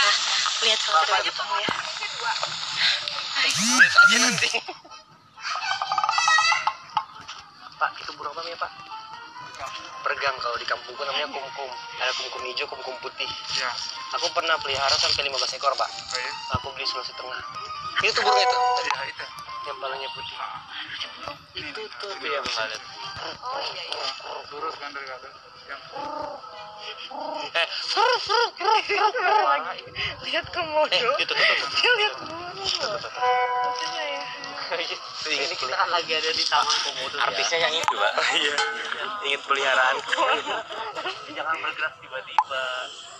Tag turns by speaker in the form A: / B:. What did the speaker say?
A: lihat kalau kita
B: Apa
A: udah ketemu ya
B: Tulis aja nanti. Pak, itu burung apa namanya, Pak? Ya. Pergang kalau di kampungku namanya kumkum. Ada kumkum hijau, kumkum putih.
C: Ya,
B: Aku pernah pelihara sampai 15 ekor, Pak.
C: baik.
B: Aku beli Sulawesi Tengah. Itu tuh burung iya? itu, Ah.
C: Ya, itu.
B: yang palanya putih.
A: itu tuh
B: Tapi yang nggak ada.
C: Lurus kan dari kata. Yang
B: Eh,
A: lihat
B: eh,
A: komodo
B: itu tuh. tuh, tuh.
A: dia lihat burung maksudnya ya
B: Ini kita
D: lagi ada di taman komodo
E: Artisnya yang itu, Pak.
B: Iya.
E: Ingat peliharaan.
D: jangan bergerak tiba-tiba